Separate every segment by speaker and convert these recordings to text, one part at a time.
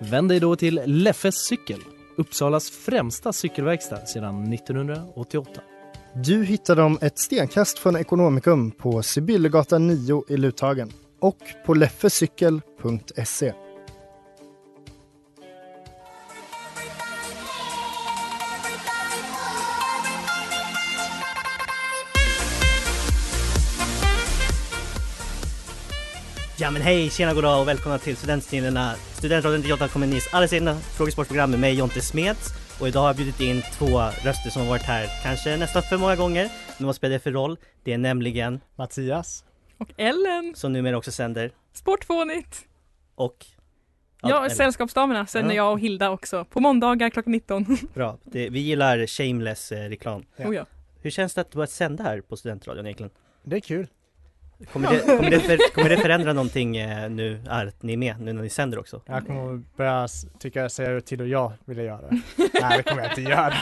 Speaker 1: Vänd dig då till Leffes cykel, Uppsalas främsta cykelverkstad sedan 1988.
Speaker 2: Du hittar dem ett stenkast från Ekonomikum på Sibyllegatan 9 i Luthagen och på leffecykel.se.
Speaker 3: Ja men hej, tjena goddag och välkomna till Studentsnillena Studentradion 98,9s alldeles egna frågesportprogram med mig Jonte Smeds och idag har jag bjudit in två röster som har varit här kanske nästan för många gånger men vad spelar det för roll? Det är nämligen
Speaker 4: Mattias.
Speaker 5: Och Ellen,
Speaker 3: som numera också sänder
Speaker 5: Sportfånigt!
Speaker 3: och
Speaker 5: Ja,
Speaker 3: Ellen.
Speaker 5: Sällskapsdamerna sänder
Speaker 3: Ja.
Speaker 5: jag och Hilda också. På måndagar klockan 19.
Speaker 3: Bra, det, vi gillar shameless eh, reklam
Speaker 5: Oh, ja.
Speaker 3: Hur känns det att börja sända här på Studentradion egentligen?
Speaker 4: Det är kul.
Speaker 3: Kommer det, kommer det, för, kommer det förändra någonting eh, nu att ni är med, nu när ni sänder också?
Speaker 4: Jag kommer att börja s- tycka, säga till och jag ville göra. Nej, det kommer jag inte göra.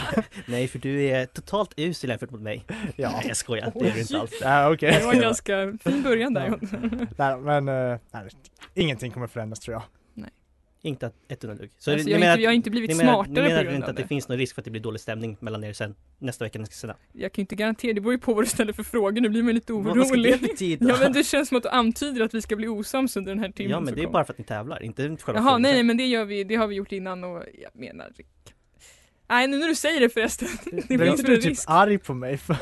Speaker 3: Nej för du är totalt usel jämfört mot mig
Speaker 4: Ja,
Speaker 3: Nej jag skojar, det är du inte alls
Speaker 4: ja
Speaker 5: Det
Speaker 4: okej.
Speaker 5: var en ganska fin början där.
Speaker 4: Nej, men eh, nej, ingenting kommer förändras tror jag.
Speaker 3: Inte att ett enda dugg. Så
Speaker 5: Alltså,
Speaker 3: ni
Speaker 5: jag,
Speaker 3: menar
Speaker 5: har
Speaker 3: att-
Speaker 5: inte, jag har inte
Speaker 3: ni
Speaker 5: blivit
Speaker 3: menar,
Speaker 5: smartare
Speaker 3: ni menar
Speaker 5: på
Speaker 3: inte
Speaker 5: grund av
Speaker 3: att det,
Speaker 5: det.
Speaker 3: finns någon risk för att det blir dålig stämning mellan er sen nästa vecka när ni ska sända?
Speaker 5: Jag kan ju inte garantera, det beror ju på vad du ställer för frågor. Nu blir man lite
Speaker 3: Vad- Vad ska det för
Speaker 5: orolig.
Speaker 3: tid då?
Speaker 5: Ja men det känns som att du antyder att vi ska bli osams under den här timmen
Speaker 3: Ja men
Speaker 5: som
Speaker 3: det är
Speaker 5: kommer.
Speaker 3: bara för att ni tävlar, inte själva
Speaker 5: Jaha,
Speaker 3: frågan.
Speaker 5: nej, nej men det gör vi, det har vi gjort innan och jag menar Nej nu när du säger det förresten, det
Speaker 4: Blev
Speaker 5: blir
Speaker 4: inte
Speaker 5: inte en
Speaker 4: du typ
Speaker 5: risk.
Speaker 4: arg på mig för?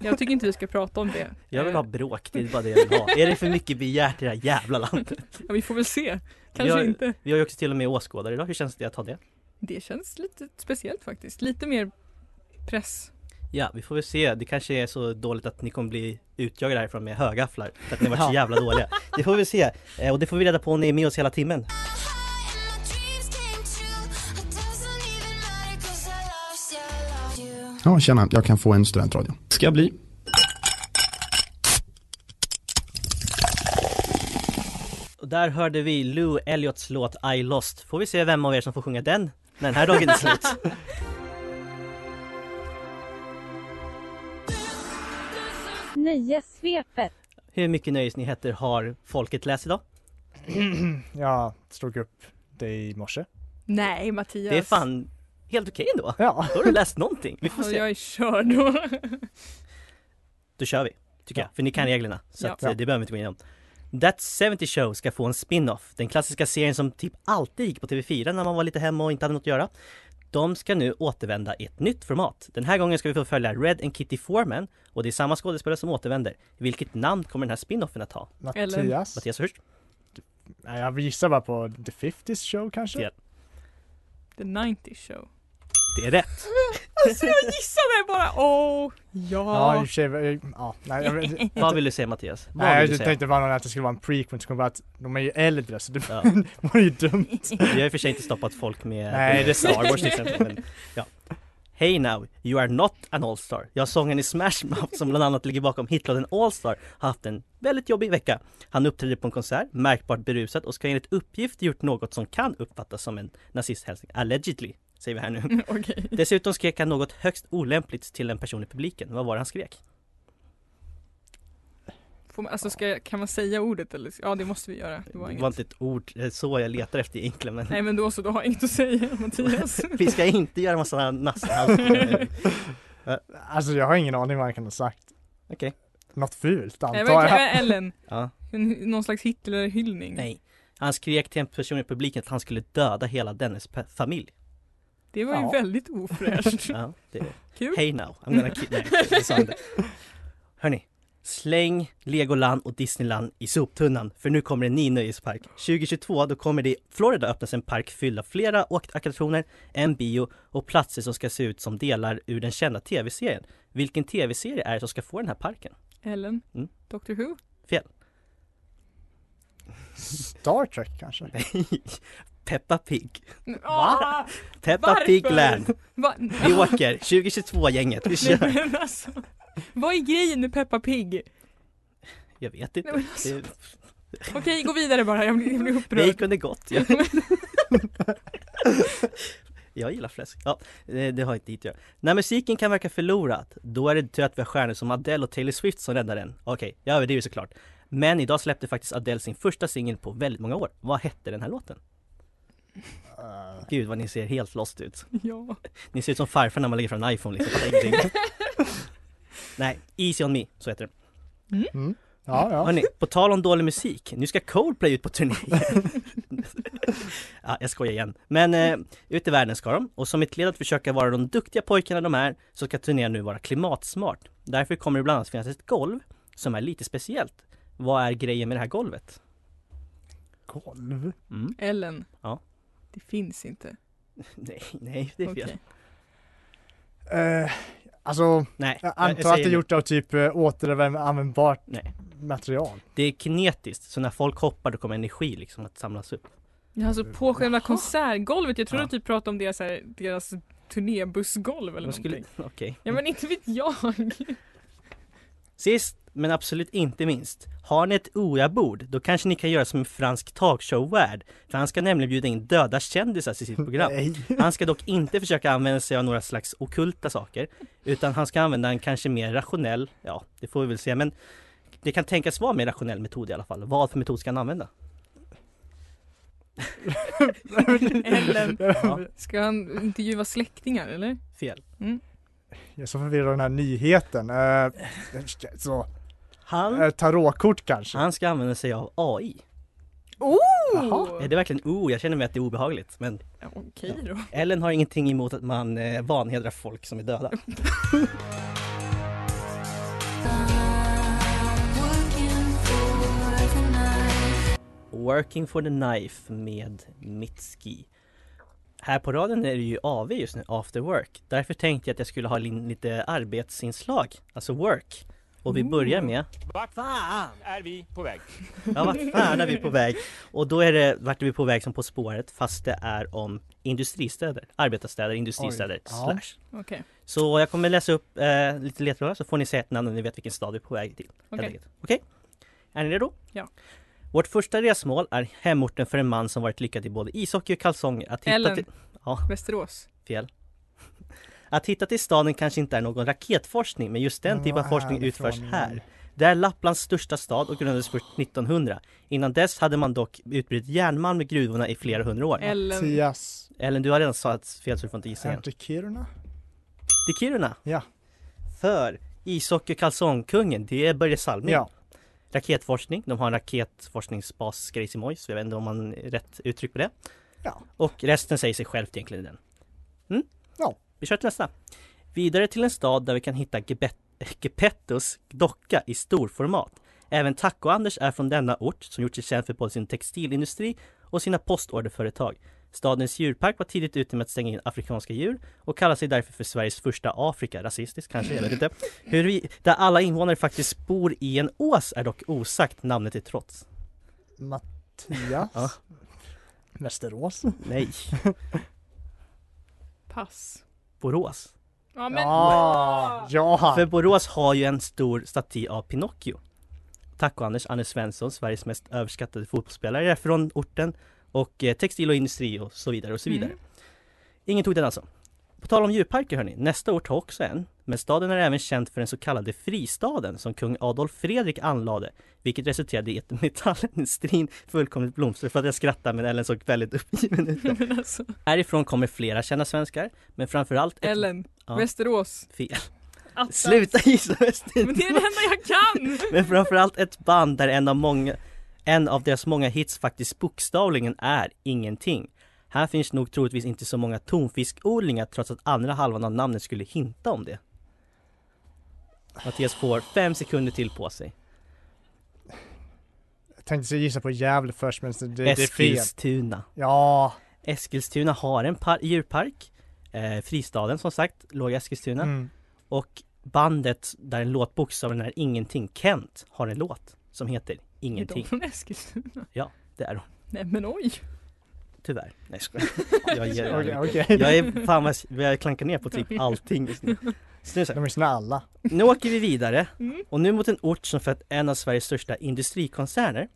Speaker 5: Jag tycker inte vi ska prata om det.
Speaker 3: Jag vill ha bråk, det är bara det jag vill ha. är det för mycket begärt i det här jävla landet?
Speaker 5: Ja, vi får väl se. Kanske
Speaker 3: Jag-
Speaker 5: inte.
Speaker 3: Vi har ju också till och med åskådare idag, hur känns det att ha det?
Speaker 5: Det känns lite speciellt faktiskt. Lite mer press.
Speaker 3: Ja, vi får väl se. Det kanske är så dåligt att ni kommer bli utjagade härifrån med högafflar för att ni har varit så
Speaker 4: Ja.
Speaker 3: jävla dåliga. Det får vi se. Eh, Och det får vi reda på om ni är med oss hela timmen.
Speaker 6: Ja, tjena, jag kan få en studentradio. Ska jag bli.
Speaker 3: Och där hörde vi Lou Elliots låt I Lost. Får vi se vem av er som får sjunga den när den här dagen är slut.
Speaker 7: Nöjessvepet.
Speaker 3: Hur mycket nöjesnyheter har folket läst idag?
Speaker 4: Jag slog upp dig i morse.
Speaker 5: Nej Mattias.
Speaker 3: Det är fan helt okej ändå.
Speaker 4: Ja,
Speaker 3: Då har du läst någonting. Vi får
Speaker 5: Ja,
Speaker 3: se.
Speaker 5: jag är körd då.
Speaker 3: Då kör vi, tycker
Speaker 4: Ja.
Speaker 3: jag. För ni kan reglerna. Så
Speaker 5: Ja.
Speaker 3: att, eh, det behöver vi inte gå igenom. That 70 Show ska få en spin-off. Den klassiska serien som typ alltid gick på TV4 när man var lite hemma och inte hade något att göra. De ska nu återvända i ett nytt format. Den här gången ska vi få följa Red and Kitty Foreman och det är samma skådespelare som återvänder. Vilket namn kommer den här spin-offen att ha?
Speaker 4: Mattias.
Speaker 3: Mattias Hurst?
Speaker 4: Nej, jag gissar bara på The 50s show kanske.
Speaker 3: Ja.
Speaker 5: The 90 show.
Speaker 3: Det är rätt!
Speaker 5: Alltså jag gissade bara, åh,
Speaker 4: Ja, i
Speaker 5: ja.
Speaker 4: och för sig, eh, ja, nej, jag, vet-
Speaker 3: Vad vill du säga Mattias? Vad
Speaker 4: nej,
Speaker 3: vill du
Speaker 4: jag
Speaker 3: säga?
Speaker 4: tänkte bara att det skulle vara en prequel, så kom jag bara att de är ju äldre så det
Speaker 3: Ja.
Speaker 4: var ju dumt.
Speaker 3: Vi har i och för sig inte stoppat folk med
Speaker 4: Nej,
Speaker 3: med
Speaker 4: det är
Speaker 3: Star Wars till exempel. Men, ja. Hey now, you are not an all-star. Jag sången i Smash Mouth som bland annat ligger bakom hitlåten All-star har haft en väldigt jobbig vecka. Han uppträdde på en konsert, märkbart berusad och ska enligt uppgift gjort något som kan uppfattas som en nazisthälsning. Allegedly, säger vi här nu.
Speaker 5: Okej.
Speaker 3: Dessutom skrek han något högst olämpligt till en person i publiken. Vad var det han skrek?
Speaker 5: Får man- Alltså ska, jag- kan man säga ordet eller? Ja det måste vi göra. Det var
Speaker 3: Det
Speaker 5: inget.
Speaker 3: var inte ett ord eh, så jag letar efter egentligen men
Speaker 5: Nej men då så, då har jag inget att säga Mattias.
Speaker 3: vi ska inte göra massa nazihälsningar.
Speaker 4: Alltså jag har ingen aning vad han kan ha sagt.
Speaker 3: Okej.
Speaker 4: Något fult
Speaker 5: Nej,
Speaker 4: antar
Speaker 5: men,
Speaker 4: jag.
Speaker 5: Ellen,
Speaker 3: Ja.
Speaker 5: en, någon slags Hitlerhyllning.
Speaker 3: Nej, han skrek till en person i publiken att han skulle döda hela dennes pe- familj.
Speaker 5: Det var ju
Speaker 4: Ja.
Speaker 5: väldigt ofräscht.
Speaker 3: Ja, det är
Speaker 5: Kul.
Speaker 3: Hey now, I'm gonna kill... Nej, det sa han inte. Hörni, släng Legoland och Disneyland i soptunnan, för nu kommer en ny nöjespark. 2022, då kommer det i Florida öppnas en park fylld av flera åk- attraktioner, en bio och platser som ska se ut som delar ur den kända tv-serien. Vilken tv-serie är det som ska få den här parken?
Speaker 5: Ellen,
Speaker 3: Mm.
Speaker 5: Doctor Who?
Speaker 4: Star Trek kanske?
Speaker 3: Nej, Peppa Pig.
Speaker 5: Men,
Speaker 3: Va?
Speaker 5: ah,
Speaker 3: Peppa
Speaker 5: Varför?
Speaker 3: Pig Land.
Speaker 5: Va?
Speaker 3: Vi åker, 2022 gänget, vi
Speaker 5: Nej,
Speaker 3: kör.
Speaker 5: men alltså, vad är grejen med Peppa Pig?
Speaker 3: Jag vet
Speaker 5: Nej,
Speaker 3: inte.
Speaker 5: men alltså,
Speaker 3: Det-
Speaker 5: Okej, gå vidare bara, jag blir, jag blir
Speaker 3: Det
Speaker 5: upprörd.
Speaker 3: kunde gått. Jag, jag gillar fläsk. Ja, det, det har inte dit att göra. När musiken kan verka förlorad, då är det tur att vi har stjärnor som Adele och Taylor Swift som räddar den. Okej, jag överdriver såklart. Men idag släppte faktiskt Adele sin första singel på väldigt många år. Vad hette den här låten?
Speaker 2: Eh,
Speaker 3: Gud vad ni ser helt lost ut.
Speaker 5: Ja.
Speaker 3: Ni ser ut som farfar när man lägger fram en iPhone liksom. Fattar ingenting. Nej, Easy on me, så heter den.
Speaker 2: Mm. Ja, ja.
Speaker 3: Hörrni, på tal om dålig musik, nu ska Coldplay ut på turné! ja, jag skojar igen. Men eh, ut i världen ska de, och som ett led att försöka vara de duktiga pojkarna de är, så ska turnén nu vara klimatsmart. Därför kommer det bland annat finnas ett golv, som är lite speciellt. Vad är grejen med det här golvet?
Speaker 4: Golv?
Speaker 3: Mm.
Speaker 5: Ellen.
Speaker 3: Ja.
Speaker 5: Det finns inte.
Speaker 3: Nej, nej, det är fel.
Speaker 5: Okej.
Speaker 4: Eh, alltså,
Speaker 3: Nej,
Speaker 4: jag
Speaker 3: jag
Speaker 4: antar
Speaker 3: säger
Speaker 4: att det är
Speaker 3: nu.
Speaker 4: gjort av typ eh, återanvändbart
Speaker 3: Nej.
Speaker 4: material.
Speaker 3: Det är kinetiskt, så när folk hoppar då kommer energi liksom att samlas upp.
Speaker 5: Ja, alltså på själva konsertgolvet. Jag trodde
Speaker 3: Ja.
Speaker 5: att du pratade om deras, så här, deras turnébussgolv eller
Speaker 3: Vad skulle-
Speaker 5: någonting.
Speaker 3: Okej.
Speaker 5: Ja men inte vet jag.
Speaker 3: Sist men absolut inte minst, har ni ett OA-bord då kanske ni kan göra som en fransk talkshow-värd. För han ska nämligen bjuda in döda kändisar till sitt program.
Speaker 4: Nej.
Speaker 3: Han ska dock inte försöka använda sig av några slags okulta saker. Utan han ska använda en kanske mer rationell, ja det får vi väl se men det kan tänkas vara en mer rationell metod i alla fall. Vad för metod ska han använda?
Speaker 5: Ellen.
Speaker 3: Ja.
Speaker 5: Ska han intervjua släktingar eller?
Speaker 3: Fel.
Speaker 4: Jag är så förvirrad av den här nyheten. Eh, så,
Speaker 3: Han,
Speaker 4: eh, tarotkort kanske?
Speaker 3: han ska använda sig av AI.
Speaker 5: Jaha.
Speaker 3: Är det verkligen oh, jag känner mig att det är obehagligt men
Speaker 5: Ja, Okej då.
Speaker 3: Ellen har ingenting emot att man eh, vanhedrar folk som är döda. Working for the Knife med Mitski. Här på raden är det ju AV just nu, After Work. Därför tänkte jag att jag skulle ha in lite arbetsinslag, alltså work. Och vi börjar med... Vart fan är vi på väg? Ja, vart fan är vi på väg? Och då är det Vart är vi på väg som På spåret, fast det är om industristäder, arbetarstäder, industristäder,
Speaker 4: Oj, ja.
Speaker 3: slash.
Speaker 5: Okej.
Speaker 3: Så jag kommer läsa upp eh, lite ledtrådar så får ni säga ett namn och ni vet vilken stad vi är på väg till. helt
Speaker 5: Okej.
Speaker 3: enkelt. Okej? Är ni redo?
Speaker 5: Ja.
Speaker 3: Vårt första resmål är hemorten för en man som varit lyckad i både ishockey och kalsonger. Att hitta
Speaker 5: Ellen.
Speaker 3: till... Ja,
Speaker 5: Västerås.
Speaker 3: fel. Att hitta till staden kanske inte är någon raketforskning, men just den
Speaker 4: Men
Speaker 3: typ av
Speaker 4: vad
Speaker 3: forskning
Speaker 4: är det
Speaker 3: utförs
Speaker 4: från
Speaker 3: här.
Speaker 4: igen?
Speaker 3: Det är Lapplands största stad och grundades först 1900. Innan dess hade man dock utbrytt järnmalm i gruvorna i flera hundra år.
Speaker 5: Ellen.
Speaker 4: Mattias,
Speaker 3: Ellen, du har redan sagt fel så du får inte gissa
Speaker 4: är
Speaker 3: igen.
Speaker 4: inte Kiruna?
Speaker 3: Till Kiruna!
Speaker 4: Ja.
Speaker 3: För ishockey och kalsongkungen, det är Börje Salming.
Speaker 4: Ja.
Speaker 3: Raketforskning, de har en raketforskningsbas Grejsimoj, så jag vet inte om man är rätt uttryck på det.
Speaker 4: Ja.
Speaker 3: Och resten säger sig självt egentligen i den. Mm?
Speaker 4: Ja.
Speaker 3: Vi kör till nästa. Vidare till en stad där vi kan hitta Gebet- Gepettos docka i storformat. Även Taco-Anders är från denna ort som gjort sig känd för både sin textilindustri och sina postorderföretag. Stadens djurpark var tidigt ute med att stänga in afrikanska djur och kallar sig därför för Sveriges första Afrika, rasistiskt kanske, jag vet inte. Hur vi, där alla invånare faktiskt bor i en ås är dock osagt, namnet till trots.
Speaker 4: Mattias?
Speaker 3: Ja.
Speaker 4: Västerås?
Speaker 3: Nej,
Speaker 5: Pass.
Speaker 3: Borås.
Speaker 5: Ja men.
Speaker 4: Ja! Ah, ja.
Speaker 3: För Borås har ju en stor staty av Pinocchio. Taco-Anders, Anders Svensson, Sveriges mest överskattade fotbollsspelare är från orten och eh, textil och industri och så vidare och så vidare.
Speaker 5: Mm.
Speaker 3: Ingen tog den alltså. På tal om djurparker hörni, nästa ort har också en. Men staden är även känd för den så kallade fristaden som kung Adolf Fredrik anlade. Vilket resulterade i att metallindustrin fullkomligt blomstrade. För att jag skrattar men Ellen såg väldigt uppgiven ut. där.
Speaker 5: Men alltså.
Speaker 3: Härifrån kommer flera kända svenskar. Men framförallt... ett-
Speaker 5: Ellen.
Speaker 3: Ja.
Speaker 5: Västerås.
Speaker 3: Fel.
Speaker 5: Attan.
Speaker 3: Sluta gissa Österrike.
Speaker 5: Men det är det enda jag kan!
Speaker 3: Men framförallt ett band där en av, många, en av deras många hits faktiskt bokstavligen är ingenting. Här finns nog troligtvis inte så många tonfiskodlingar trots att andra halvan av namnet skulle hinta om det. Mattias får fem sekunder till på sig.
Speaker 4: Jag tänkte gissa på Gävle först men det, det är fel.
Speaker 3: Eskilstuna.
Speaker 4: Ja.
Speaker 3: Eskilstuna har en par- djurpark. Eh, fristaden som sagt, låg i Eskilstuna.
Speaker 4: Mm.
Speaker 3: Och bandet där en låt bokstavligen är ingenting, Kent, har en låt som heter
Speaker 5: Är de
Speaker 3: Ingenting.
Speaker 5: från Eskilstuna?
Speaker 3: Det är de.
Speaker 5: Nej men oj.
Speaker 3: Tyvärr. Nej jag skojar. Jag ger
Speaker 4: Okej,
Speaker 3: okay,
Speaker 4: okej.
Speaker 3: Jag är fan vad jag- jag klankar ner på typ allting just nu. Så nu, så här,
Speaker 4: De är snälla.
Speaker 3: nu åker vi vidare
Speaker 5: Mm.
Speaker 3: och nu mot en ort som fött en av Sveriges största industrikoncerner.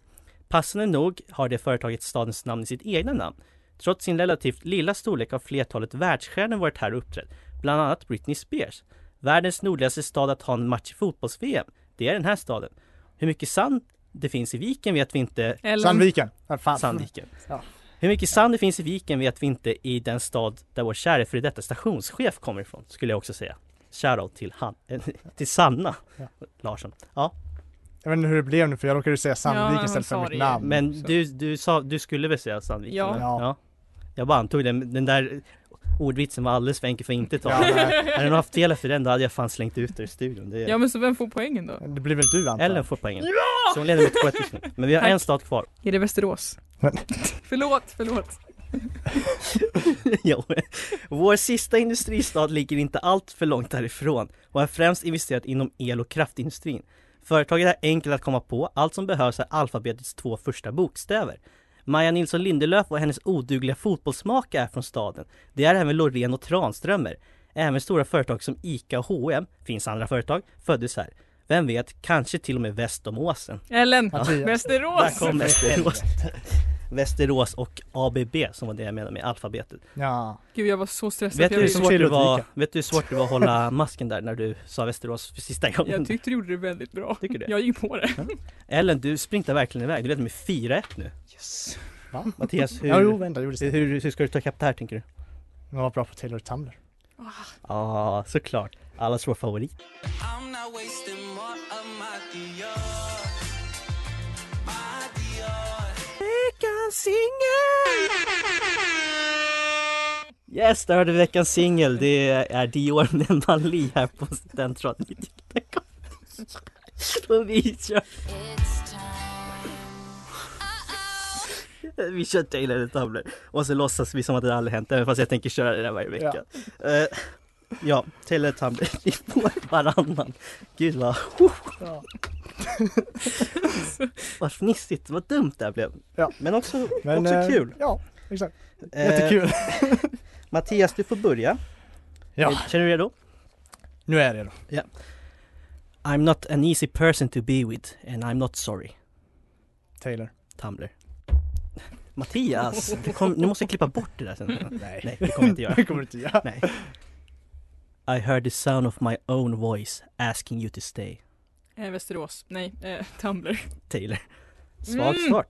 Speaker 3: Passande nog har det företaget stadens namn i sitt egna namn. Trots sin relativt lilla storlek har flertalet världsstjärnor varit här och uppträtt, bland annat Britney Spears. Världens nordligaste stad att ha en match i fotbolls-VM, det är den här staden. Hur mycket sand det finns i viken vet vi inte
Speaker 5: Eller
Speaker 4: Sandviken. Ja, fan.
Speaker 5: Alltså,
Speaker 3: Sandviken.
Speaker 4: Ja.
Speaker 3: Hur mycket sand det finns i viken vet vi inte i den stad där vår käre före detta stationschef kommer ifrån, skulle jag också säga. Shoutout till han, eh, till Sanna
Speaker 4: Ja.
Speaker 3: Larsson.
Speaker 4: Mm, Jag vet inte hur det blev nu för jag råkade säga Sandviken
Speaker 5: Ja, men
Speaker 4: istället
Speaker 5: sa det
Speaker 4: för mitt
Speaker 5: ju.
Speaker 4: namn.
Speaker 3: Men
Speaker 4: så.
Speaker 3: du, du, sa, du skulle väl säga Sandviken?
Speaker 5: Ja.
Speaker 3: eller?
Speaker 4: Ja.
Speaker 3: Jag bara antog den, den där ordvitsen var alldeles för enkel för att inte ta.
Speaker 4: Ja, nej.
Speaker 3: Hade någon haft fel efter den då hade jag fan slängt ut det i studion. Det är...
Speaker 5: Ja men så vem får poängen då?
Speaker 4: Det blir väl du antar
Speaker 3: Ellen
Speaker 4: jag?
Speaker 3: får poängen. Så hon leder med 2-1 just nu. Men vi har
Speaker 5: Tack.
Speaker 3: en stad kvar.
Speaker 5: Är det Västerås?
Speaker 4: Men-
Speaker 5: förlåt, förlåt.
Speaker 3: Jo. Vår sista industristad ligger inte allt för långt härifrån och har främst investerat inom el och kraftindustrin. Företaget är enkelt att komma på, allt som behövs är alfabetets två första bokstäver. Maja Nilsson Lindelöf och hennes odugliga fotbollsmaka är från staden. Det är även Loreen och Tranströmer. Även stora företag som ICA och H&M finns andra företag, föddes här. Vem vet, kanske till och med väst om åsen.
Speaker 5: Ellen,
Speaker 4: Mattias.
Speaker 3: Där
Speaker 5: Västerås!
Speaker 3: kom Västerås. Västerås och ABB som var det jag menade med alfabetet.
Speaker 4: Ja.
Speaker 5: Gud jag var så stressad.
Speaker 3: Vet du,
Speaker 5: jag,
Speaker 3: hur
Speaker 4: som
Speaker 3: svårt det
Speaker 4: Chile och
Speaker 3: var,
Speaker 4: Vika.
Speaker 3: vet du hur svårt det var att hålla masken där när du sa Västerås för sista gången?
Speaker 5: jag tyckte du gjorde det väldigt bra.
Speaker 3: Tycker du det?
Speaker 5: Jag gick på det.
Speaker 3: Ellen, du sprintar verkligen iväg. Du leder med 4-1 nu.
Speaker 4: Yes. Va?
Speaker 3: Mattias, hur,
Speaker 4: Ja, jo, vänta, jag gjorde det.
Speaker 3: hur, hur ska du ta ikapp det här tänker du?
Speaker 4: Jag var bra på Taylor Tumbler.
Speaker 3: Ja, ah, såklart. Allas vår favorit. Veckans singel! Yes, där hörde vi veckans singel. Det är Dior med en Mali här på Studentradion 98.com. Och vi kör... Vi kör Taylor the Tumbler och så låtsas vi som att det aldrig hänt även fast jag tänker köra det där varje vecka. Ja, ja Taylor the Tumbler, vi får varannan. Gud vad... vad fnissigt, vad dumt det här blev.
Speaker 4: Ja.
Speaker 3: Men också,
Speaker 4: Men,
Speaker 3: också
Speaker 4: eh,
Speaker 3: kul.
Speaker 4: Ja, exakt.
Speaker 3: Eh,
Speaker 4: Jättekul.
Speaker 3: Mattias, du får börja.
Speaker 4: Ja.
Speaker 3: Eh, Känner du dig redo?
Speaker 4: Nu är jag redo.
Speaker 3: I'm not an easy person to be with and I'm not sorry.
Speaker 4: Taylor.
Speaker 3: Tumblr. Mattias, det kom, nu måste jag klippa bort det där sen.
Speaker 4: Nej.
Speaker 3: Nej, det kommer jag inte göra.
Speaker 4: Det kommer du inte göra.
Speaker 3: Nej. I heard the sound of my own voice asking you to stay.
Speaker 5: Eh, Västerås, nej, eh, Tumblr.
Speaker 3: Taylor. Svag
Speaker 5: Mm.
Speaker 3: start.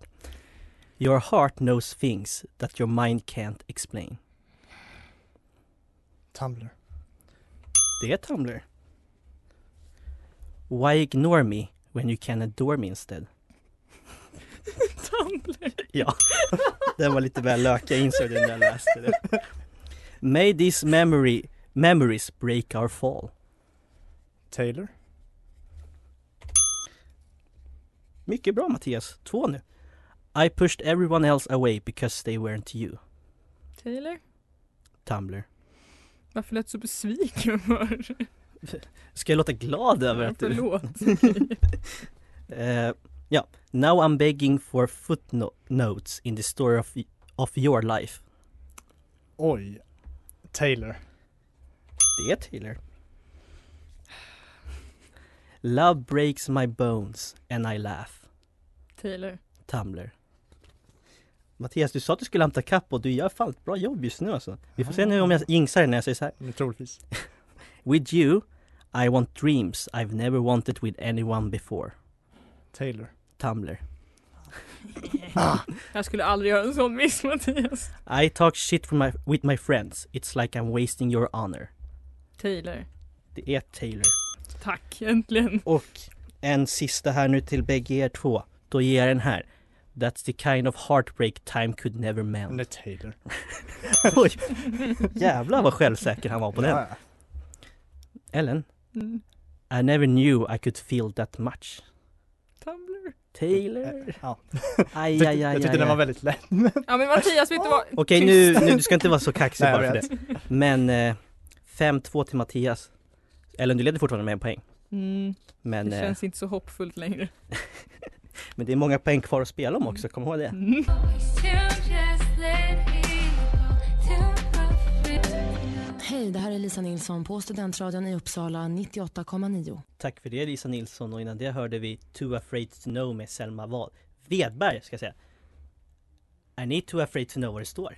Speaker 3: Your heart knows things that your mind can't explain.
Speaker 4: Tumbler.
Speaker 3: Det är Tumblr. Why ignore me when you can adore me instead?
Speaker 5: Tumblr.
Speaker 3: Ja, den var lite väl lök, jag insåg det när jag läste det. May these memory, memories break our fall.
Speaker 4: Taylor.
Speaker 3: Mycket bra Mattias, två nu. I pushed everyone else away because they weren't you.
Speaker 5: Taylor?
Speaker 3: Tumblr.
Speaker 5: Varför lät du så besviken för?
Speaker 3: Ska jag låta glad över att du...
Speaker 5: Förlåt.
Speaker 3: Eh, ja. Now I'm begging for footnotes in the story of, of your life.
Speaker 4: Oj. Taylor.
Speaker 3: Det är Taylor. Love breaks my bones and I laugh.
Speaker 5: Taylor.
Speaker 3: Tumblr. Mattias, du sa att du skulle hämta kapp och du gör fan ett bra jobb just nu alltså. Vi får se nu om jag jinxar det när jag säger så här.
Speaker 4: Nu Mm, troligtvis.
Speaker 3: With you, I want dreams I've never wanted with anyone before.
Speaker 4: Taylor.
Speaker 3: Tumblr. Ah.
Speaker 5: Jag skulle aldrig göra en sån miss Mattias.
Speaker 3: I talk shit from my, with my friends. It's like I'm wasting your honor.
Speaker 5: Taylor.
Speaker 3: Det är Taylor.
Speaker 5: Tack, äntligen.
Speaker 3: Och en sista här nu till bägge er två. Då ger jag den här. That's the kind of heartbreak time could never
Speaker 4: Men
Speaker 3: mend.
Speaker 4: det är Taylor.
Speaker 3: Oj! Jävlar vad självsäker han var på den.
Speaker 4: Ja, ja.
Speaker 3: Ellen,
Speaker 5: Mm.
Speaker 3: I never knew I could feel that much.
Speaker 5: Tumblr.
Speaker 3: Taylor!
Speaker 4: Eh, Ja. Jag
Speaker 3: Aj,
Speaker 4: tyckte,
Speaker 3: aj,
Speaker 4: jag
Speaker 3: aj,
Speaker 4: tyckte
Speaker 3: aj,
Speaker 4: den var
Speaker 3: aj.
Speaker 4: väldigt lätt.
Speaker 5: Ja men Mattias, vet du vad?
Speaker 3: Okej
Speaker 5: Tyst.
Speaker 3: nu, nu, du ska inte vara så kaxig
Speaker 4: Nej, jag
Speaker 3: bara för det. Men eh, 5-2 till Mattias. Ellen, du leder fortfarande med en poäng.
Speaker 5: Mm,
Speaker 3: Men,
Speaker 5: det
Speaker 3: eh,
Speaker 5: känns inte så hoppfullt längre.
Speaker 3: Men det är många poäng kvar att spela om också, kom ihåg det.
Speaker 5: Mm.
Speaker 7: To just let Hej, det här är Lisa Nilsson på Studentradion i Uppsala 98,9.
Speaker 3: Tack för det Lisa Nilsson och innan det hörde vi Too Afraid To Know med Selma Wahl Vedberg ska jag säga Är ni too afraid to know vad det står?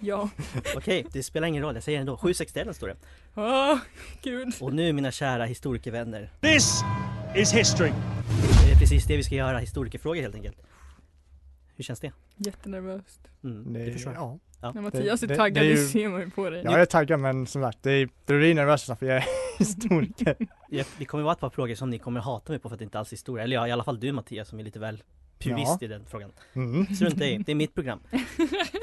Speaker 5: Ja.
Speaker 3: Okej, det spelar ingen roll, jag säger det ändå, 761 står det
Speaker 5: Åh, gud.
Speaker 3: Och nu mina kära historikervänner
Speaker 8: This is history.
Speaker 3: Det är precis det vi ska göra, historikerfrågor helt enkelt Hur känns det?
Speaker 5: Jättenervöst.
Speaker 3: Mm,
Speaker 4: Det
Speaker 3: det
Speaker 4: är,
Speaker 3: förstår jag
Speaker 4: ja.
Speaker 3: Ja.
Speaker 5: När Mattias
Speaker 4: Det-
Speaker 5: är
Speaker 4: det-
Speaker 5: taggad,
Speaker 4: det
Speaker 5: det,
Speaker 4: är ju-
Speaker 5: ser man ju på dig.
Speaker 4: Jag är taggad men som sagt, det, är, det blir nervöst för jag är historiker.
Speaker 3: Ja, Det kommer vara ett par frågor som ni kommer hata mig på för att det inte alls är historia, eller ja, i alla fall du Mattias som är lite väl purist
Speaker 4: Ja.
Speaker 3: i den frågan
Speaker 4: Mm.
Speaker 3: Strunta i, det är mitt program.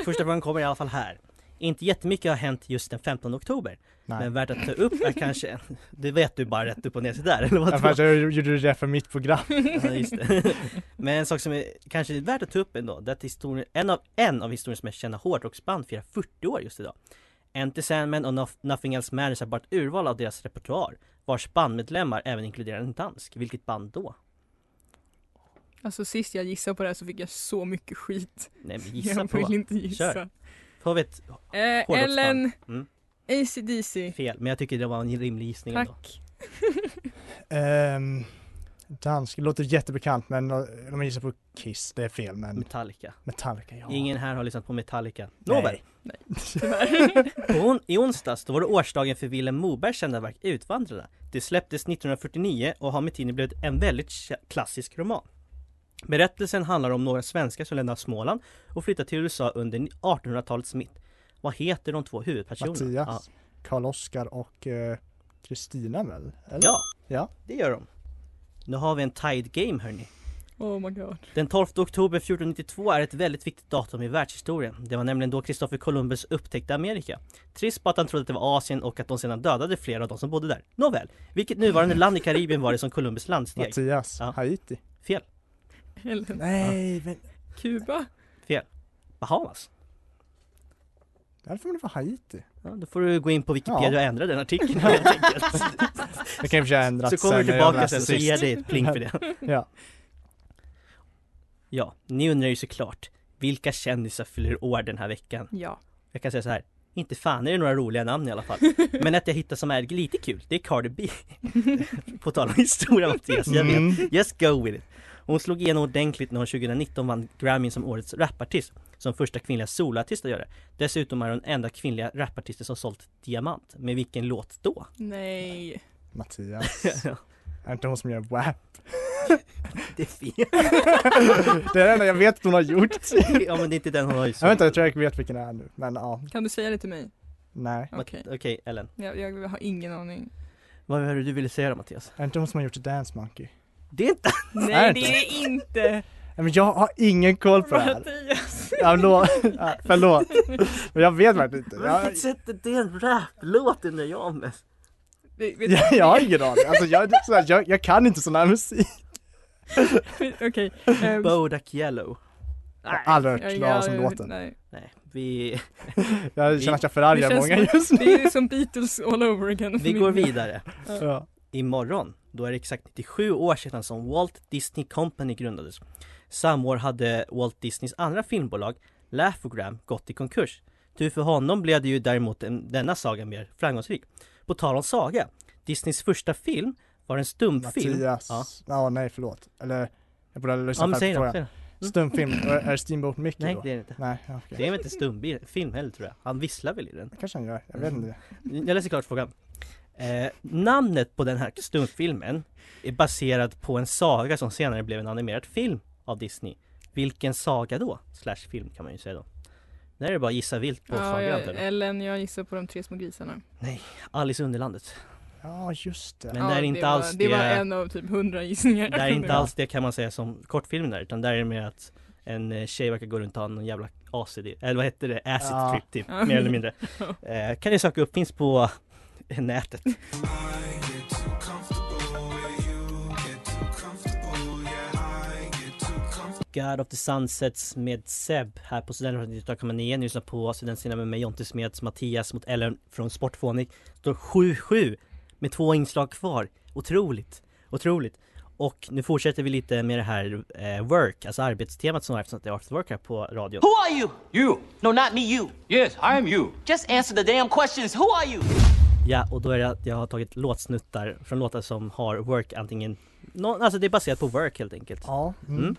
Speaker 3: Första frågan kommer i alla fall här. Inte jättemycket har hänt just den 15 oktober,
Speaker 4: Nej.
Speaker 3: men värt att ta upp är kanske, det vet du bara rätt upp och ner sådär, eller
Speaker 4: Ja,
Speaker 3: vad
Speaker 4: för att
Speaker 3: tror
Speaker 4: jag gjorde det för mitt program.
Speaker 3: du? Ja, just det. Men en sak som är kanske värt att ta upp ändå, det är att historien, en, av, en av historiens mest kända hårdrocksband firar 40 år just idag. Enter Sandman och Nof- Nothing Else Matters är bara ett urval av deras repertoar, vars bandmedlemmar även inkluderar en dansk. Vilket band då?
Speaker 5: Alltså sist jag gissade på det här så fick jag så mycket skit.
Speaker 3: Nej men gissa
Speaker 5: jag vill
Speaker 3: på.
Speaker 5: inte
Speaker 3: Kör.
Speaker 5: gissa.
Speaker 3: Får vi ett
Speaker 5: Eh,
Speaker 3: Hårdrocksband.
Speaker 5: Ellen,
Speaker 3: Mm.
Speaker 5: ACDC.
Speaker 3: fel, men jag tycker det var en rimlig gissning ändå.
Speaker 5: Tack.
Speaker 4: Ehm, dansk, det låter jättebekant men eh, om jag gissar på Kiss, det är fel men
Speaker 3: Metallica.
Speaker 4: Metallica, ja.
Speaker 3: Ingen här har lyssnat på Metallica.
Speaker 4: Nej.
Speaker 3: Nåväl! På on- I onsdags då var det årsdagen för Vilhelm Mobergs kända verk Utvandrarna. Det släpptes 1949 och har med tiden blivit en väldigt kä- klassisk roman. Berättelsen handlar om några svenskar som lämnar Småland och flyttar till USA under ni- 1800-talets mitt. Vad heter de två huvudpersonerna? Ja.
Speaker 4: Mattias, Karl-Oskar och eh, Kristina väl? Eller?
Speaker 3: ja,
Speaker 4: Ja.
Speaker 3: det gör de. Nu har vi en tied game hörni.
Speaker 5: Oh my god.
Speaker 3: Den 12 oktober 1492 är ett väldigt viktigt datum i världshistorien. Det var nämligen då Kristoffer Columbus upptäckte Amerika. Trist bara att han trodde att det var Asien och att de sedan dödade flera av de som bodde där. Nåväl, vilket nuvarande land i Karibien var det som Columbus landsteg?
Speaker 4: Mattias,
Speaker 3: Ja.
Speaker 4: Haiti.
Speaker 3: Fel.
Speaker 5: Ellen.
Speaker 4: Nej, men
Speaker 5: Kuba.
Speaker 3: Bahamas.
Speaker 4: därför det vara Haiti.
Speaker 3: Ja, då får du gå in på Wikipedia
Speaker 4: Ja.
Speaker 3: och ändra den artikeln helt enkelt.
Speaker 4: Det kan jag försöka ändra
Speaker 3: Så kommer du
Speaker 4: när jag
Speaker 3: tillbaka
Speaker 4: läser
Speaker 3: sen så
Speaker 4: sist.
Speaker 3: ger jag dig ett pling för det.
Speaker 4: Ja.
Speaker 3: Ja, ni undrar ju såklart, vilka kändisar fyller år den här veckan?
Speaker 5: Ja.
Speaker 3: Jag kan säga så här. Inte fan är det några roliga namn i alla fall. Men ett jag hittar som är lite kul, det är Cardi B. På tal om historia Mattias, jag vet.
Speaker 4: Mm.
Speaker 3: Just go with it. Hon slog igenom ordentligt när hon 2019 vann Grammy som årets rapartist. Som första kvinnliga soloartist att göra. Dessutom är hon den enda kvinnliga rapartisten som sålt diamant. Med vilken låt då?
Speaker 5: Nej.
Speaker 4: Mattias. Är inte hon som gör WAP?
Speaker 3: det är fel.
Speaker 4: Det är det enda jag vet att hon har gjort.
Speaker 3: ja men det är inte den hon har ju
Speaker 4: Jag vet inte,
Speaker 5: Typ.
Speaker 4: jag tror jag vet vilken det är nu. Men ja,
Speaker 5: Kan du säga det till mig?
Speaker 4: nej.
Speaker 5: Okej.
Speaker 3: Okej Ellen,
Speaker 5: Jag, jag har ingen aning.
Speaker 3: vad var det du ville säga då Mattias?
Speaker 4: Är inte hon som har gjort Dance Monkey?
Speaker 3: Det är inte...
Speaker 5: Nej
Speaker 4: det
Speaker 5: det är inte.
Speaker 4: Nej, men jag har ingen koll på det här.
Speaker 5: Mattias.
Speaker 4: Ja, lo- ja, förlåt. Men jag vet verkligen inte. Jag,
Speaker 3: sätt är det en raplåt undrar jag med?
Speaker 5: Vet- vet-
Speaker 4: jag, jag har ingen aning. Alltså, jag, så här, jag, jag kan inte sån här musik.
Speaker 5: Okej. ehm,
Speaker 3: Bodak Yellow.
Speaker 4: Jag har aldrig hört
Speaker 5: jag-
Speaker 4: talas om
Speaker 5: jag-
Speaker 4: låten.
Speaker 5: nej.
Speaker 3: Nej, vi,
Speaker 4: Jag
Speaker 3: Vi-
Speaker 4: känner att jag
Speaker 5: Det
Speaker 4: förargar
Speaker 5: känns
Speaker 4: många
Speaker 5: som-
Speaker 4: just nu.
Speaker 5: Det är ju som Beatles all over again.
Speaker 3: vi går vidare.
Speaker 4: Ja.
Speaker 3: Imorgon, då är det exakt 97 år sedan som Walt Disney Company grundades. Samma år hade Walt Disneys andra filmbolag, Laugh-O-Gram, gått i konkurs. Tur för honom blev det ju däremot en, denna saga mer framgångsrik. På tal om saga, Disneys första film var en stumfilm.
Speaker 4: Mattias.
Speaker 3: Ja.
Speaker 4: Ja, nej förlåt. Eller, jag borde ha
Speaker 3: Ja,
Speaker 4: lyssnat
Speaker 3: men
Speaker 4: ja,
Speaker 3: säg
Speaker 4: på
Speaker 3: då,
Speaker 4: frågan.
Speaker 3: säg då. Mm.
Speaker 4: Stumfilm, Och är det Steamboat Mickey
Speaker 3: Nej,
Speaker 4: då?
Speaker 3: det är det inte.
Speaker 4: Nej, ja, okej.
Speaker 3: Det är väl inte stumfilm heller tror jag. Han visslar väl i den.
Speaker 4: kanske han gör, jag vet
Speaker 3: Mm.
Speaker 4: inte.
Speaker 3: Jag läser klart frågan. Eh, namnet på den här stumfilmen är baserad på en saga som senare blev en animerad film av Disney. Vilken saga då? Slash film kan man ju säga då. Där är det bara att gissa vilt på
Speaker 5: Ja,
Speaker 3: sagan.
Speaker 5: jag,
Speaker 3: antar jag.
Speaker 5: Ellen, jag gissar på de tre små grisarna.
Speaker 3: Alice i Underlandet.
Speaker 4: Ja, just det.
Speaker 3: Men det är inte
Speaker 5: var,
Speaker 3: alls
Speaker 5: det.
Speaker 3: det,
Speaker 5: var en av typ hundra gissningar.
Speaker 3: det är inte alls det kan man säga som kortfilmen där, utan där är det mer att en eh, tjej verkar gå runt och ha någon jävla acid, eller vad heter det, acid
Speaker 4: Ja.
Speaker 3: trip typ,
Speaker 5: Ja.
Speaker 3: mer eller mindre. Eh, kan ni söka upp, finns på nätet. God of the Sunsets med Seb här på Studentradion 98,9. Ni lyssnar på Studentscenen med mig Jonte Smeds, Mattias mot Ellen från Sportfånig. Står 7-7 med två inslag kvar. Otroligt, otroligt. Och nu fortsätter vi lite med det här eh, work, alltså arbetstemat som var eftersom att det är after work här på radion.
Speaker 9: Who are you? You. No, not me, you. Yes, I am you. Just answer the damn questions. Who are you?
Speaker 3: Ja, och då är det att jag har tagit låtsnuttar från låtar som har work antingen, nå- alltså det är baserat på work helt enkelt.
Speaker 4: Ja. mm.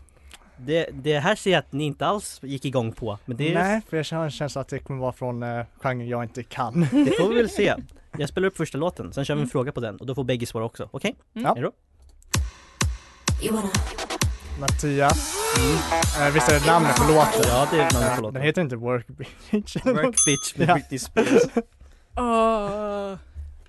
Speaker 3: Det, det här ser jag att ni inte alls gick igång på, men det,
Speaker 4: Nej, för jag har en känsla att det kommer vara från eh, genren jag inte kan.
Speaker 3: det får vi väl se. Jag spelar upp första låten, sen kör vi en fråga på den och då får bägge svara också, okej?
Speaker 4: Mm. Ja.
Speaker 3: Är du?
Speaker 4: Mattias. Eh, visst är det namnet på låten?
Speaker 3: Ja, det är namnet på
Speaker 4: Eh,
Speaker 3: låten.
Speaker 4: Den heter inte Work Bitch.
Speaker 3: Work bitch med
Speaker 4: Ja.
Speaker 3: Britney Spears.
Speaker 5: Åh.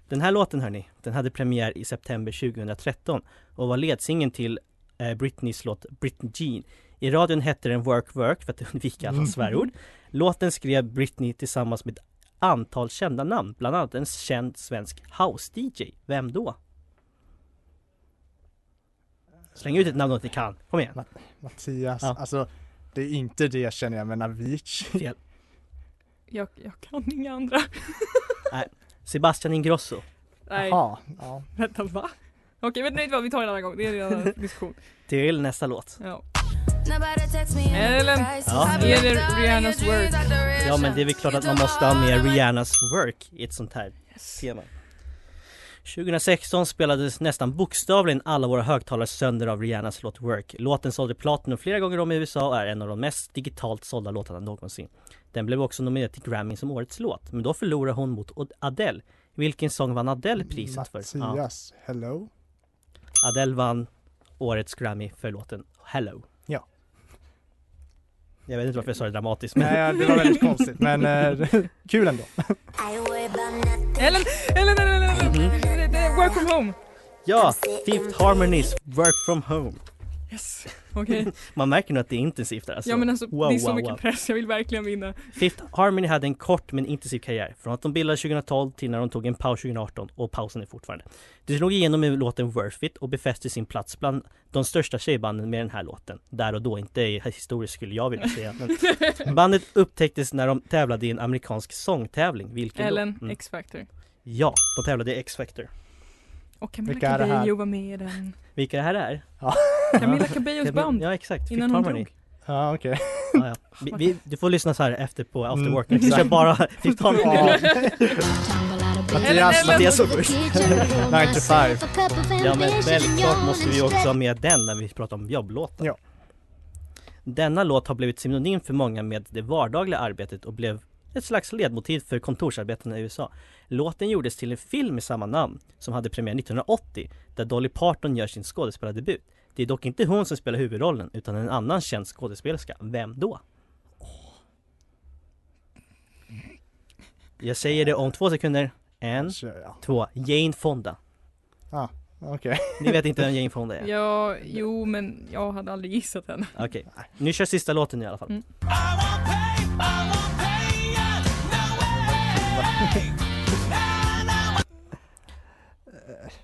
Speaker 3: Den här låten hörni, den hade premiär i september 2013 och var ledsingeln till eh, Britneys låt Britney Jean. I radion hette den Work Work för att undvika alla
Speaker 1: Mm.
Speaker 3: svärord. Låten skrev Britney tillsammans med ett antal kända namn, bland annat en känd svensk house-DJ. Vem då? Släng ut ett namn om ni kan, kom igen!
Speaker 4: Mattias.
Speaker 3: Ja.
Speaker 4: Alltså, det är inte det jag känner, jag menar Avicii.
Speaker 3: Fel.
Speaker 5: Jag, jag kan inga andra.
Speaker 3: Sebastian Ingrosso.
Speaker 5: Nej,
Speaker 4: Jaha. Ja.
Speaker 5: vänta va? Okej, vet ni vad? Vi tar en annan gång. Det är en annan diskussion.
Speaker 3: Till nästa låt.
Speaker 5: Ja.
Speaker 10: Ellen!
Speaker 3: Ja.
Speaker 5: Är det Rihannas work?
Speaker 3: Ja men det är väl klart att man måste ha med Rihannas work i ett sånt här tema. 2016 spelades nästan bokstavligen alla våra högtalare sönder av Rihannas låt Work. Låten sålde platinum flera gånger om i USA och är en av de mest digitalt sålda låtarna någonsin. Den blev också nominerad till Grammy som årets låt, men då förlorade hon mot Od- Adele. Vilken sång vann Adele priset för? Ja,
Speaker 4: Mattias, hello?
Speaker 3: Adele vann årets Grammy för låten Hello.
Speaker 4: Ja.
Speaker 3: Jag vet inte varför jag sa det dramatiskt men...
Speaker 4: Nej, ja, det var väldigt konstigt, men eh, kul ändå.
Speaker 5: Ellen, Ellen, Ellen, Ellen, Ellen. Det- det är Work from home!
Speaker 3: Ja, Fifth Harmonies, Work from home.
Speaker 5: Yes, okej.
Speaker 3: Man märker nog att det är intensivt där alltså.
Speaker 5: ja men alltså
Speaker 3: Wow,
Speaker 5: det är så
Speaker 3: wow,
Speaker 5: mycket
Speaker 3: wow.
Speaker 5: press, jag vill verkligen vinna.
Speaker 3: Fifth Harmony hade en kort men intensiv karriär. Från att de bildades 2012 till när de tog en paus 2018 och pausen är fortfarande. De slog igenom med låten Worth It och befäste sin plats bland de största tjejbanden med den här låten. Där och då, inte historiskt skulle jag vilja säga. Men bandet upptäcktes när de tävlade i en amerikansk sångtävling. Vilken då?
Speaker 5: Ellen,
Speaker 3: Mm.
Speaker 5: X-Factor.
Speaker 3: Ja, de tävlade i X-Factor.
Speaker 5: Och Camilla
Speaker 4: Vilka är det här?
Speaker 5: Cabello var med i den.
Speaker 3: Vilka det här är?
Speaker 4: Ja.
Speaker 5: Camilla Cabellos band.
Speaker 3: Ja exakt, Fifth
Speaker 5: Innan hon
Speaker 3: Harmony.
Speaker 5: dog.
Speaker 4: Ja, okej.
Speaker 3: Ja, ja. Vi, vi, du får lyssna så här efter på After
Speaker 4: Mm,
Speaker 3: Work. Vi kör
Speaker 4: exakt.
Speaker 3: bara Fifth Harmony.
Speaker 4: Ja. Mattias,
Speaker 3: Mattias var först.
Speaker 4: 9 to 5.
Speaker 3: Ja men självklart måste vi också ha med den när vi pratar om jobblåtar.
Speaker 4: Ja.
Speaker 3: Denna låt har blivit synonym för många med det vardagliga arbetet och blev ett slags ledmotiv för kontorsarbetarna i USA. Låten gjordes till en film med samma namn som hade premiär 1980 där Dolly Parton gör sin skådespelardebut. Det är dock inte hon som spelar huvudrollen utan en annan känd skådespelerska. Vem då? Jag säger det om två sekunder. En,
Speaker 4: Kör jag.
Speaker 3: två, Jane Fonda.
Speaker 4: Okej.
Speaker 3: Ni vet inte vem Jane Fonda är?
Speaker 5: Ja, jo men jag hade aldrig gissat henne.
Speaker 3: Okej, nu kör sista låten i alla fall.
Speaker 5: Mm.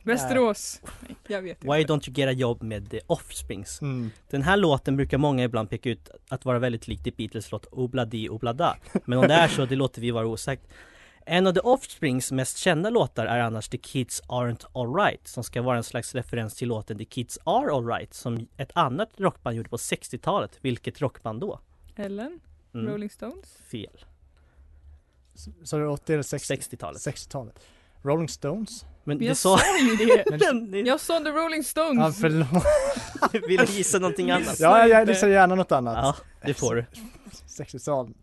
Speaker 5: Västerås. Nej, jag vet inte.
Speaker 3: Why don't you get a job med The Offsprings?
Speaker 4: Mm.
Speaker 3: Den här låten brukar många ibland peka ut att vara väldigt lik The Beatles låt Obladi Oblada. Men om det är så, det låter vi vara osagt. En av The Offsprings mest kända låtar är annars The Kids Aren't Alright som ska vara en slags referens till låten The Kids Are Alright som ett annat rockband gjorde på 60-talet. Vilket rockband då?
Speaker 5: Ellen,
Speaker 3: Mm,
Speaker 5: Rolling Stones.
Speaker 3: fel.
Speaker 4: Så det är 80 eller 60?
Speaker 3: 60-talet.
Speaker 4: 60-talet. Rolling Stones?
Speaker 3: Men
Speaker 5: Men
Speaker 3: du
Speaker 5: jag
Speaker 3: sa...
Speaker 5: sa ju det!
Speaker 3: Ni
Speaker 5: Jag sa The Rolling
Speaker 4: Ja,
Speaker 5: Stones!
Speaker 4: förlåt.
Speaker 3: ville gissa någonting annat.
Speaker 4: Ja, jag
Speaker 5: inte.
Speaker 4: gissar gärna något annat.
Speaker 3: Ja, det får du.
Speaker 4: 60-tal.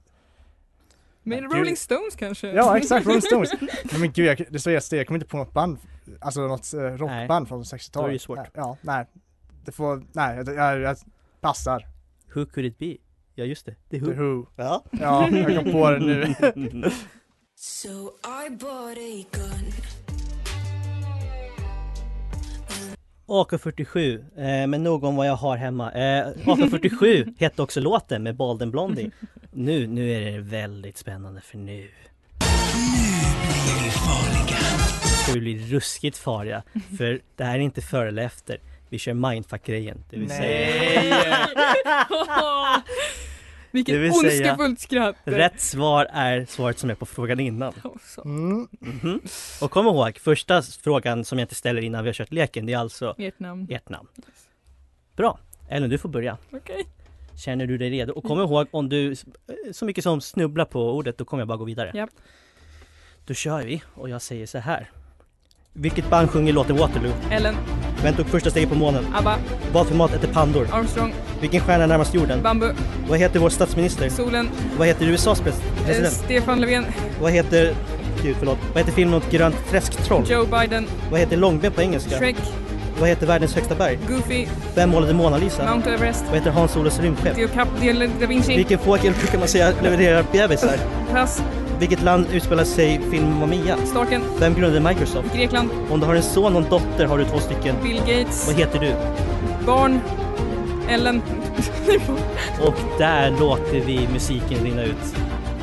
Speaker 5: Men
Speaker 4: Du-
Speaker 5: Rolling Stones kanske?
Speaker 4: Ja, exakt. Rolling Stones. Nej, men gud, jag, det är så jävla jag kommer inte på något band, alltså något eh, rockband från 60-talet.
Speaker 3: Då är det ju svårt.
Speaker 4: Nej, Ja, nej. Det får, nej, jag, jag, jag passar.
Speaker 3: Mm. Who could it be? Ja just det, The Who.
Speaker 4: The Who.
Speaker 3: Ja.
Speaker 4: Ja, jag kom på det nu.
Speaker 10: So I bought a gun.
Speaker 3: AK47, eh, men nog om vad jag har hemma. Eh, AK47 hette också låten med Balden Blondie. Nu, nu är det väldigt spännande för nu. Nu ska vi bli ruskigt farliga, för det här är inte före eller efter. Vi kör mindfuck-grejen, det vill säga
Speaker 5: Åh, Vilket
Speaker 3: Det vill säga,
Speaker 5: ondskefullt skratt.
Speaker 3: Rätt svar är svaret som är på frågan innan.
Speaker 5: så.
Speaker 4: Mm.
Speaker 3: Mhm. Och kom ihåg, första frågan som jag inte ställer innan vi har kört leken, det är alltså
Speaker 5: Ert namn.
Speaker 3: ert namn. Bra! Ellen, du får börja.
Speaker 5: Okej.
Speaker 3: Känner du dig redo? Och kom ihåg, om du s- eh, så mycket som snubblar på ordet, då kommer jag bara gå vidare.
Speaker 5: Japp.
Speaker 3: Då kör vi, och jag säger så här. Vilket band sjunger låten Waterloo?
Speaker 5: Ellen,
Speaker 3: Vem tog första steget på månen?
Speaker 5: ABBA,
Speaker 3: Vad för mat äter pandor?
Speaker 5: Armstrong,
Speaker 3: Vilken stjärna är närmast jorden?
Speaker 5: Bambu,
Speaker 3: Vad heter vår statsminister?
Speaker 5: Solen,
Speaker 3: Vad heter USAs
Speaker 5: eh,
Speaker 3: president?
Speaker 5: Stefan Löfven,
Speaker 3: Vad heter... Gud, förlåt. Vad heter filmen om ett grönt träsktroll?
Speaker 5: Joe Biden,
Speaker 3: Vad heter långben på engelska?
Speaker 5: Shrek,
Speaker 3: Vad heter världens högsta berg?
Speaker 5: Goofy,
Speaker 3: Vem målade Mona Lisa?
Speaker 5: Mount Everest,
Speaker 3: Vad heter Hans-Olos rymdskepp?
Speaker 5: Theo Cap, Leonardo da Vinci,
Speaker 3: Vilken fågel brukar man säga levererar bebisar?
Speaker 5: Pass,
Speaker 3: Vilket land utspelar sig filmen Mamma Mia?
Speaker 5: Starken,
Speaker 3: Vem grundade Microsoft?
Speaker 5: Grekland,
Speaker 3: Om du har en son och en dotter har du två stycken.
Speaker 5: Bill Gates,
Speaker 3: Vad heter du?
Speaker 5: barn, Ellen.
Speaker 3: Och där låter vi musiken rinna ut.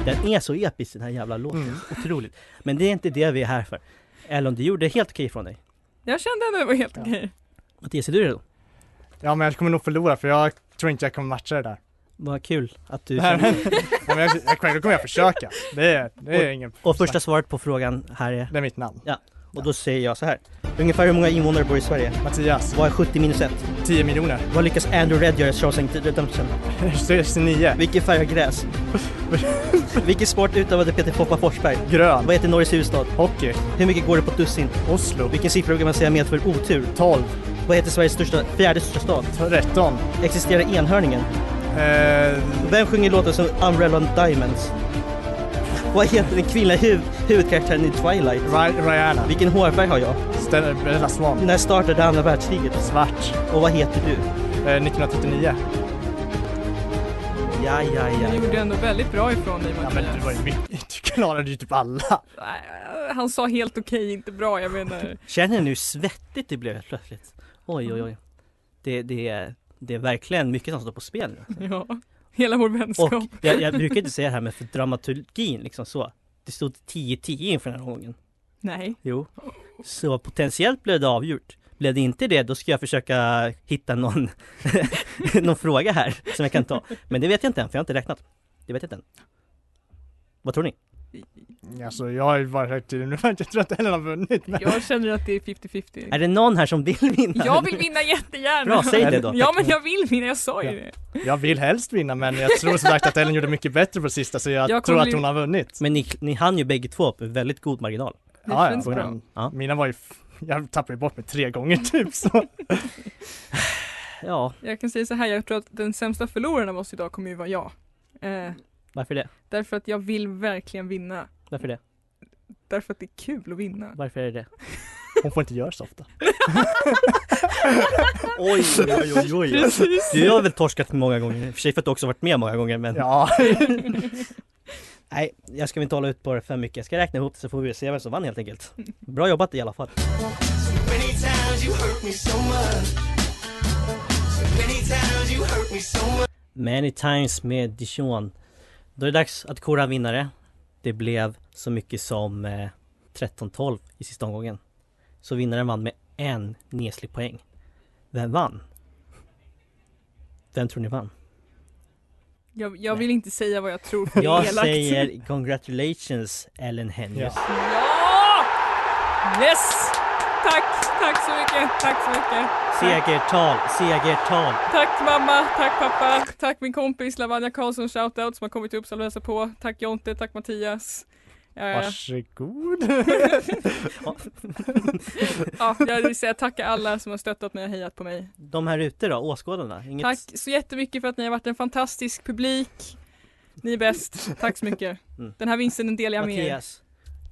Speaker 3: Den är så episk den här jävla låten. Otroligt. Men det är inte det vi är här för. Ellen, du gjorde helt okej från dig.
Speaker 5: Jag kände ändå det var helt okej.
Speaker 3: Mattias, är du redo?
Speaker 4: Ja, men jag kommer nog förlora för jag tror inte jag kommer matcha det där.
Speaker 3: Vad kul att du...
Speaker 4: Nej, men, ja, men jag, jag, själv kommer jag försöka. Det är, det är
Speaker 3: och,
Speaker 4: ingen...
Speaker 3: och första svaret på frågan här är?
Speaker 4: Det är mitt namn.
Speaker 3: Ja. Och då säger jag så här. Ungefär hur många invånare bor i Sverige?
Speaker 4: Mattias.
Speaker 3: Vad är 70 minus 1?
Speaker 4: 10 miljoner.
Speaker 3: Vad lyckas Andrew Red göra i Shawshank Redemption?
Speaker 4: 69.
Speaker 3: Vilken färg har gräs? Vilken sport utövade Peter Poppa Forsberg?
Speaker 4: Grön.
Speaker 3: Vad heter Norges huvudstad?
Speaker 4: Hockey.
Speaker 3: Hur mycket går det på ett dussin?
Speaker 4: Oslo.
Speaker 3: Vilken siffra brukar man säga medför otur?
Speaker 4: 12.
Speaker 3: Vad heter Sveriges största, fjärde största stad?
Speaker 4: 13.
Speaker 3: Existerar enhörningen?
Speaker 4: Eh,
Speaker 3: Vem sjunger låten som Umbrella and Diamonds? Vad heter den kvinnliga huv- huvudkaraktären i Twilight?
Speaker 4: Ry- Rihanna.
Speaker 3: Vilken hårfärg har jag?
Speaker 4: Stellar Bella Swan.
Speaker 3: När startade andra världskriget?
Speaker 4: Svart.
Speaker 3: Och vad heter du?
Speaker 4: Eh, 1939.
Speaker 3: Ja, ja,
Speaker 5: Du
Speaker 3: ja.
Speaker 5: gjorde ändå väldigt bra ifrån dig
Speaker 4: Ja, men du var ju
Speaker 5: Mattias.
Speaker 4: mycket. Du klarade ju typ alla.
Speaker 5: Nej, Han sa helt okej, inte bra. Jag menar,
Speaker 3: Känner ni hur svettigt det blev helt plötsligt? Oj, oj, oj. Det, det, är- det är verkligen mycket som står på spel nu.
Speaker 5: ja. Hela vår vänskap.
Speaker 3: Och jag, jag brukar inte säga det här med för dramaturgin liksom så. Det stod 10-10 inför den här gången.
Speaker 5: Nej.
Speaker 3: Jo. Så potentiellt blev det avgjort. Blev det inte det, då ska jag försöka hitta någon, någon fråga här som jag kan ta. Men det vet jag inte än, för jag har inte räknat. Det vet jag inte än. Vad tror ni?
Speaker 4: Alltså jag har ju varit här till nu, men jag tror att Ellen har vunnit. Men...
Speaker 5: Jag känner att det är 50-50.
Speaker 3: Är det någon här som vill vinna?
Speaker 5: Jag vill vinna jättegärna!
Speaker 3: Bra, säg det då.
Speaker 5: Ja men jag vill vinna, jag sa ju
Speaker 4: Ja.
Speaker 5: det!
Speaker 4: Jag vill helst vinna men jag tror som sagt att Ellen gjorde mycket bättre på sista så
Speaker 5: Jag
Speaker 4: jag, tror
Speaker 5: kommer
Speaker 4: att
Speaker 5: bli-
Speaker 4: hon har vunnit.
Speaker 3: Men ni, ni hann ju bägge två på väldigt god marginal.
Speaker 5: Det känns
Speaker 4: men
Speaker 5: bra.
Speaker 3: Ja.
Speaker 4: Mina var ju, f- jag tappade ju bort mig tre gånger typ så.
Speaker 3: Ja,
Speaker 5: Jag kan säga så här, jag tror att den sämsta förloraren av oss idag kommer ju vara jag. Eh,
Speaker 3: varför det?
Speaker 5: därför att jag vill verkligen vinna.
Speaker 3: Varför det?
Speaker 5: Därför att det är kul att vinna.
Speaker 3: Varför är det det?
Speaker 4: Hon får inte göra så ofta.
Speaker 3: Oj, oj, oj, oj.
Speaker 5: Precis!
Speaker 3: Du har väl torskat många gånger, i och för sig för att du också varit med många gånger men
Speaker 4: Ja,
Speaker 3: Nej, jag ska inte hålla ut på det för mycket. Jag ska räkna ihop det så får vi se vem som vann helt enkelt. Bra jobbat i alla fall. Many times med Dijon. Då är det dags att kora en vinnare. Det blev så mycket som eh, 13-12 i sista omgången. Så vinnaren vann med en neslig poäng. Vem vann? Vem tror ni vann?
Speaker 5: Jag, jag vill inte säga vad jag tror för det är
Speaker 3: Jag
Speaker 5: elakt.
Speaker 3: säger congratulations Ellen Henius.
Speaker 5: Ja! Yes! Tack, tack så mycket, tack så mycket.
Speaker 3: Segertal, segertal.
Speaker 5: Tack mamma, tack pappa, tack min kompis Lavanja Karlsson shoutout som har kommit till Uppsala och hälsat på. Tack Jonte, tack Mattias. Eh,
Speaker 4: varsågod.
Speaker 5: ja, jag vill säga tack alla som har stöttat mig och hejat på mig.
Speaker 3: De här ute då, åskådarna? Inget...
Speaker 5: Tack så jättemycket för att ni har varit en fantastisk publik. Ni är bäst. Tack så mycket.
Speaker 3: Mm.
Speaker 5: Den här vinsten den delar jag med er.
Speaker 3: Mattias,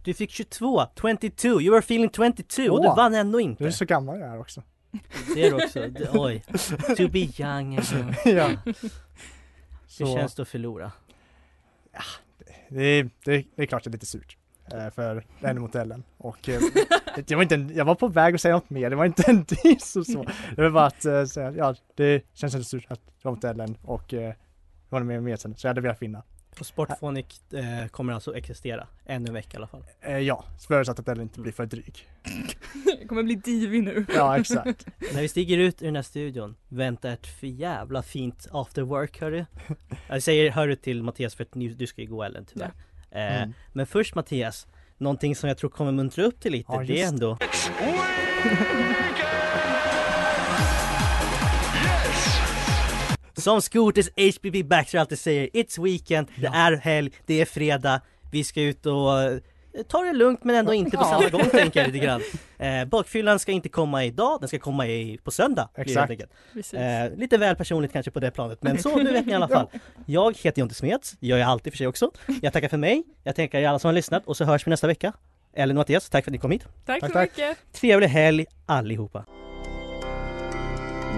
Speaker 3: du fick 22, 22, you were feeling 22 och du
Speaker 4: Åh.
Speaker 3: vann ändå
Speaker 4: Du är
Speaker 3: inte.
Speaker 4: så gammal jag är också.
Speaker 3: Ser du också? Det- Oj. To be young again.
Speaker 4: Ja.
Speaker 3: Hur
Speaker 4: Så
Speaker 3: känns det att förlora?
Speaker 4: det är, det, är, det är klart det är lite surt. eh, För Ellen mot Ellen. Och eh, det var inte en, jag var på väg att säga något mer, det var inte en diss och så. Det var bara att eh, säga, ja det känns lite surt att det var mot Ellen och eh, jag håller med med sen. Så jag hade velat vinna.
Speaker 3: Och Sportfonic eh, kommer alltså existera ännu en vecka i alla fall.
Speaker 4: Eh, ja, förutsatt att den inte blir för dryg.
Speaker 5: Det kommer bli divig nu.
Speaker 4: Ja, exakt.
Speaker 3: När vi stiger ut ur den här studion väntar ett för jävla fint after work hörru. Jag säger hörru till Mattias för att ni- du ska ju gå Ellen tyvärr. Eh,
Speaker 9: Mm.
Speaker 3: Men först Mattias, någonting som jag tror kommer muntra upp dig lite,
Speaker 9: Ja,
Speaker 3: det är
Speaker 9: just
Speaker 3: ändå Som Scooters HBB Baxter alltid säger, it's weekend, det är helg, det är fredag, vi ska ut och eh, ta det lugnt men ändå inte på
Speaker 9: Ja.
Speaker 3: samma gång tänker jag lite grann. Eh, bakfyllan ska inte komma idag, den ska komma i, på söndag. blir det
Speaker 9: Exakt.
Speaker 3: helt enkelt.
Speaker 9: Precis.
Speaker 3: Eh, lite väl personligt kanske på det planet men så, nu vet ni i alla fall. Jag heter Jonte Smeds, gör jag alltid för sig också. Jag tackar för mig, jag tackar alla som har lyssnat och så hörs vi nästa vecka. Ellen och Mattias, tack för att ni kom hit.
Speaker 5: Tack så mycket.
Speaker 3: Trevlig helg allihopa.